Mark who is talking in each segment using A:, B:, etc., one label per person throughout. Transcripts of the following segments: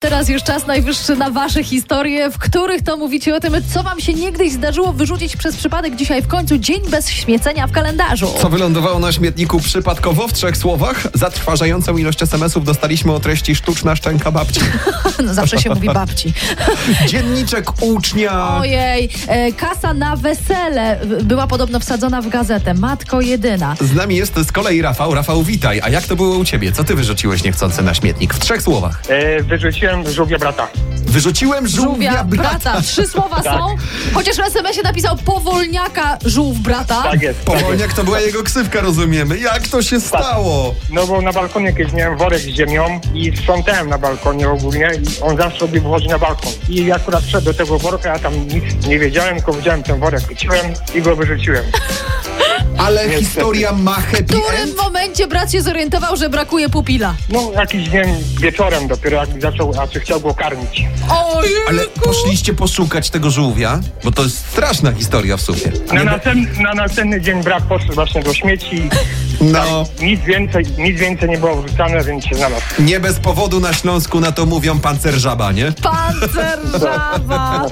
A: teraz już czas najwyższy na wasze historie, w których to mówicie o tym, co wam się niegdyś zdarzyło wyrzucić przez przypadek. Dzisiaj w końcu dzień bez śmiecenia w kalendarzu.
B: Co wylądowało na śmietniku przypadkowo w trzech słowach? Zatrważającą ilość SMS-ów dostaliśmy o treści sztuczna szczęka babci.
A: No, zawsze się mówi babci.
B: Dzienniczek ucznia.
A: Ojej, e, kasa na wesele w- była podobno wsadzona w gazetę. Matko jedyna.
B: Z nami jest z kolei Rafał. Rafał, witaj. A jak to było u ciebie? Co ty wyrzuciłeś niechcący na śmietnik? W trzech słowach.
C: E, wyrzuciłem żółwia brata.
B: Wyrzuciłem żółwia
A: Żółwia brata. Trzy słowa
C: Tak.
A: są. Chociaż w SMS-ie napisał powolniaka żółw brata.
C: Tak jest. Tak jest.
B: Powolniak to była jego ksywka, rozumiemy. Jak to się stało?
C: No bo na balkonie kiedyś miałem worek z ziemią i sprzątałem na balkonie ogólnie i on zawsze sobie wychodzi na balkon. I ja akurat wszedł do tego worka, ja tam nic nie wiedziałem, tylko widziałem ten worek, wróciłem i go wyrzuciłem.
B: Ale
C: Niestety.
B: historia ma happy
A: W którym
B: end?
A: momencie brat się zorientował, że brakuje pupila?
C: No jakiś wiem, wieczorem dopiero jak zaczął, a czy chciał go karmić.
A: Ojej!
B: Ale poszliście poszukać tego żółwia? Bo to jest straszna historia w sumie.
C: Na, następny, na następny dzień brat poszedł właśnie do śmieci.
B: No,
C: Nic więcej, nic więcej nie było wrzucane, więc się znalazł.
B: nie bez powodu na Śląsku na to mówią pancerżaba, nie?
A: Pancerzawa!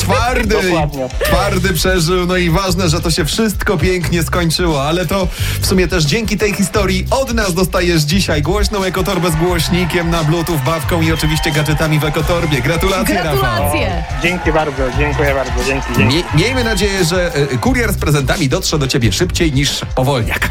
B: Twardy,
C: Dokładnie.
B: twardy przeżył, no i ważne, że to się wszystko pięknie skończyło, ale to w sumie też dzięki tej historii od nas dostajesz dzisiaj głośną ekotorbę z głośnikiem na bluetooth, bawką i oczywiście gadżetami w ekotorbie. Gratulacje, Rafał.
A: Gratulacje!
C: Dzięki bardzo, dziękuję bardzo, dzięki, dzięki.
B: e, Mie- Miejmy nadzieję, że y, kurier z prezentami dotrze do ciebie szybciej niż powolniak.